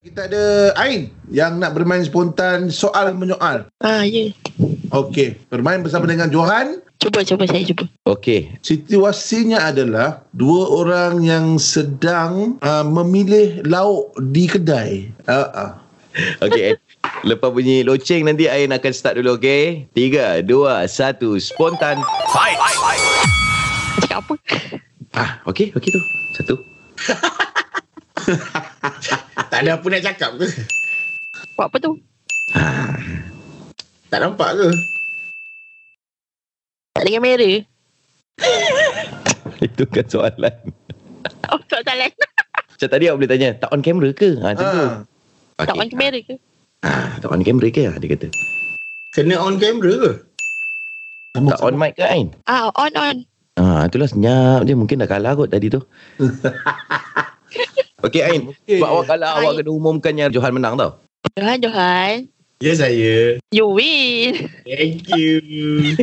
Kita ada Ain yang nak bermain spontan soal menyoal. Ah, ya. Okey, bermain bersama dengan Johan. Cuba, cuba saya cuba. Okey, Situasinya adalah dua orang yang sedang uh, memilih lauk di kedai. Uh, uh. okey. eh. Lepas bunyi loceng nanti Ain akan start dulu, okey? Tiga, dua, satu, spontan. Cakap apa? Ah, okey, okey tu. Satu. Tak ada apa nak cakap ke? Buat apa tu? Tak nampak ke? Tak ada kamera? Itu kan soalan. Oh, tak salah. Macam tadi awak boleh tanya, tak on camera ke? Ha, macam tu. Ha. Okay. Tak on kamera ke? Ah, tak on camera ke? Dia kata. Kena on camera ke? Tak on mic ke, Ain? Ah, on, on. Ah, itulah senyap je. Mungkin dah kalah kot tadi tu. okey, Ain. Okey. Sebab awak kalah, awak Ain. kena umumkan yang Johan menang tau. Johan, Johan. Ya saya. You win. Thank you.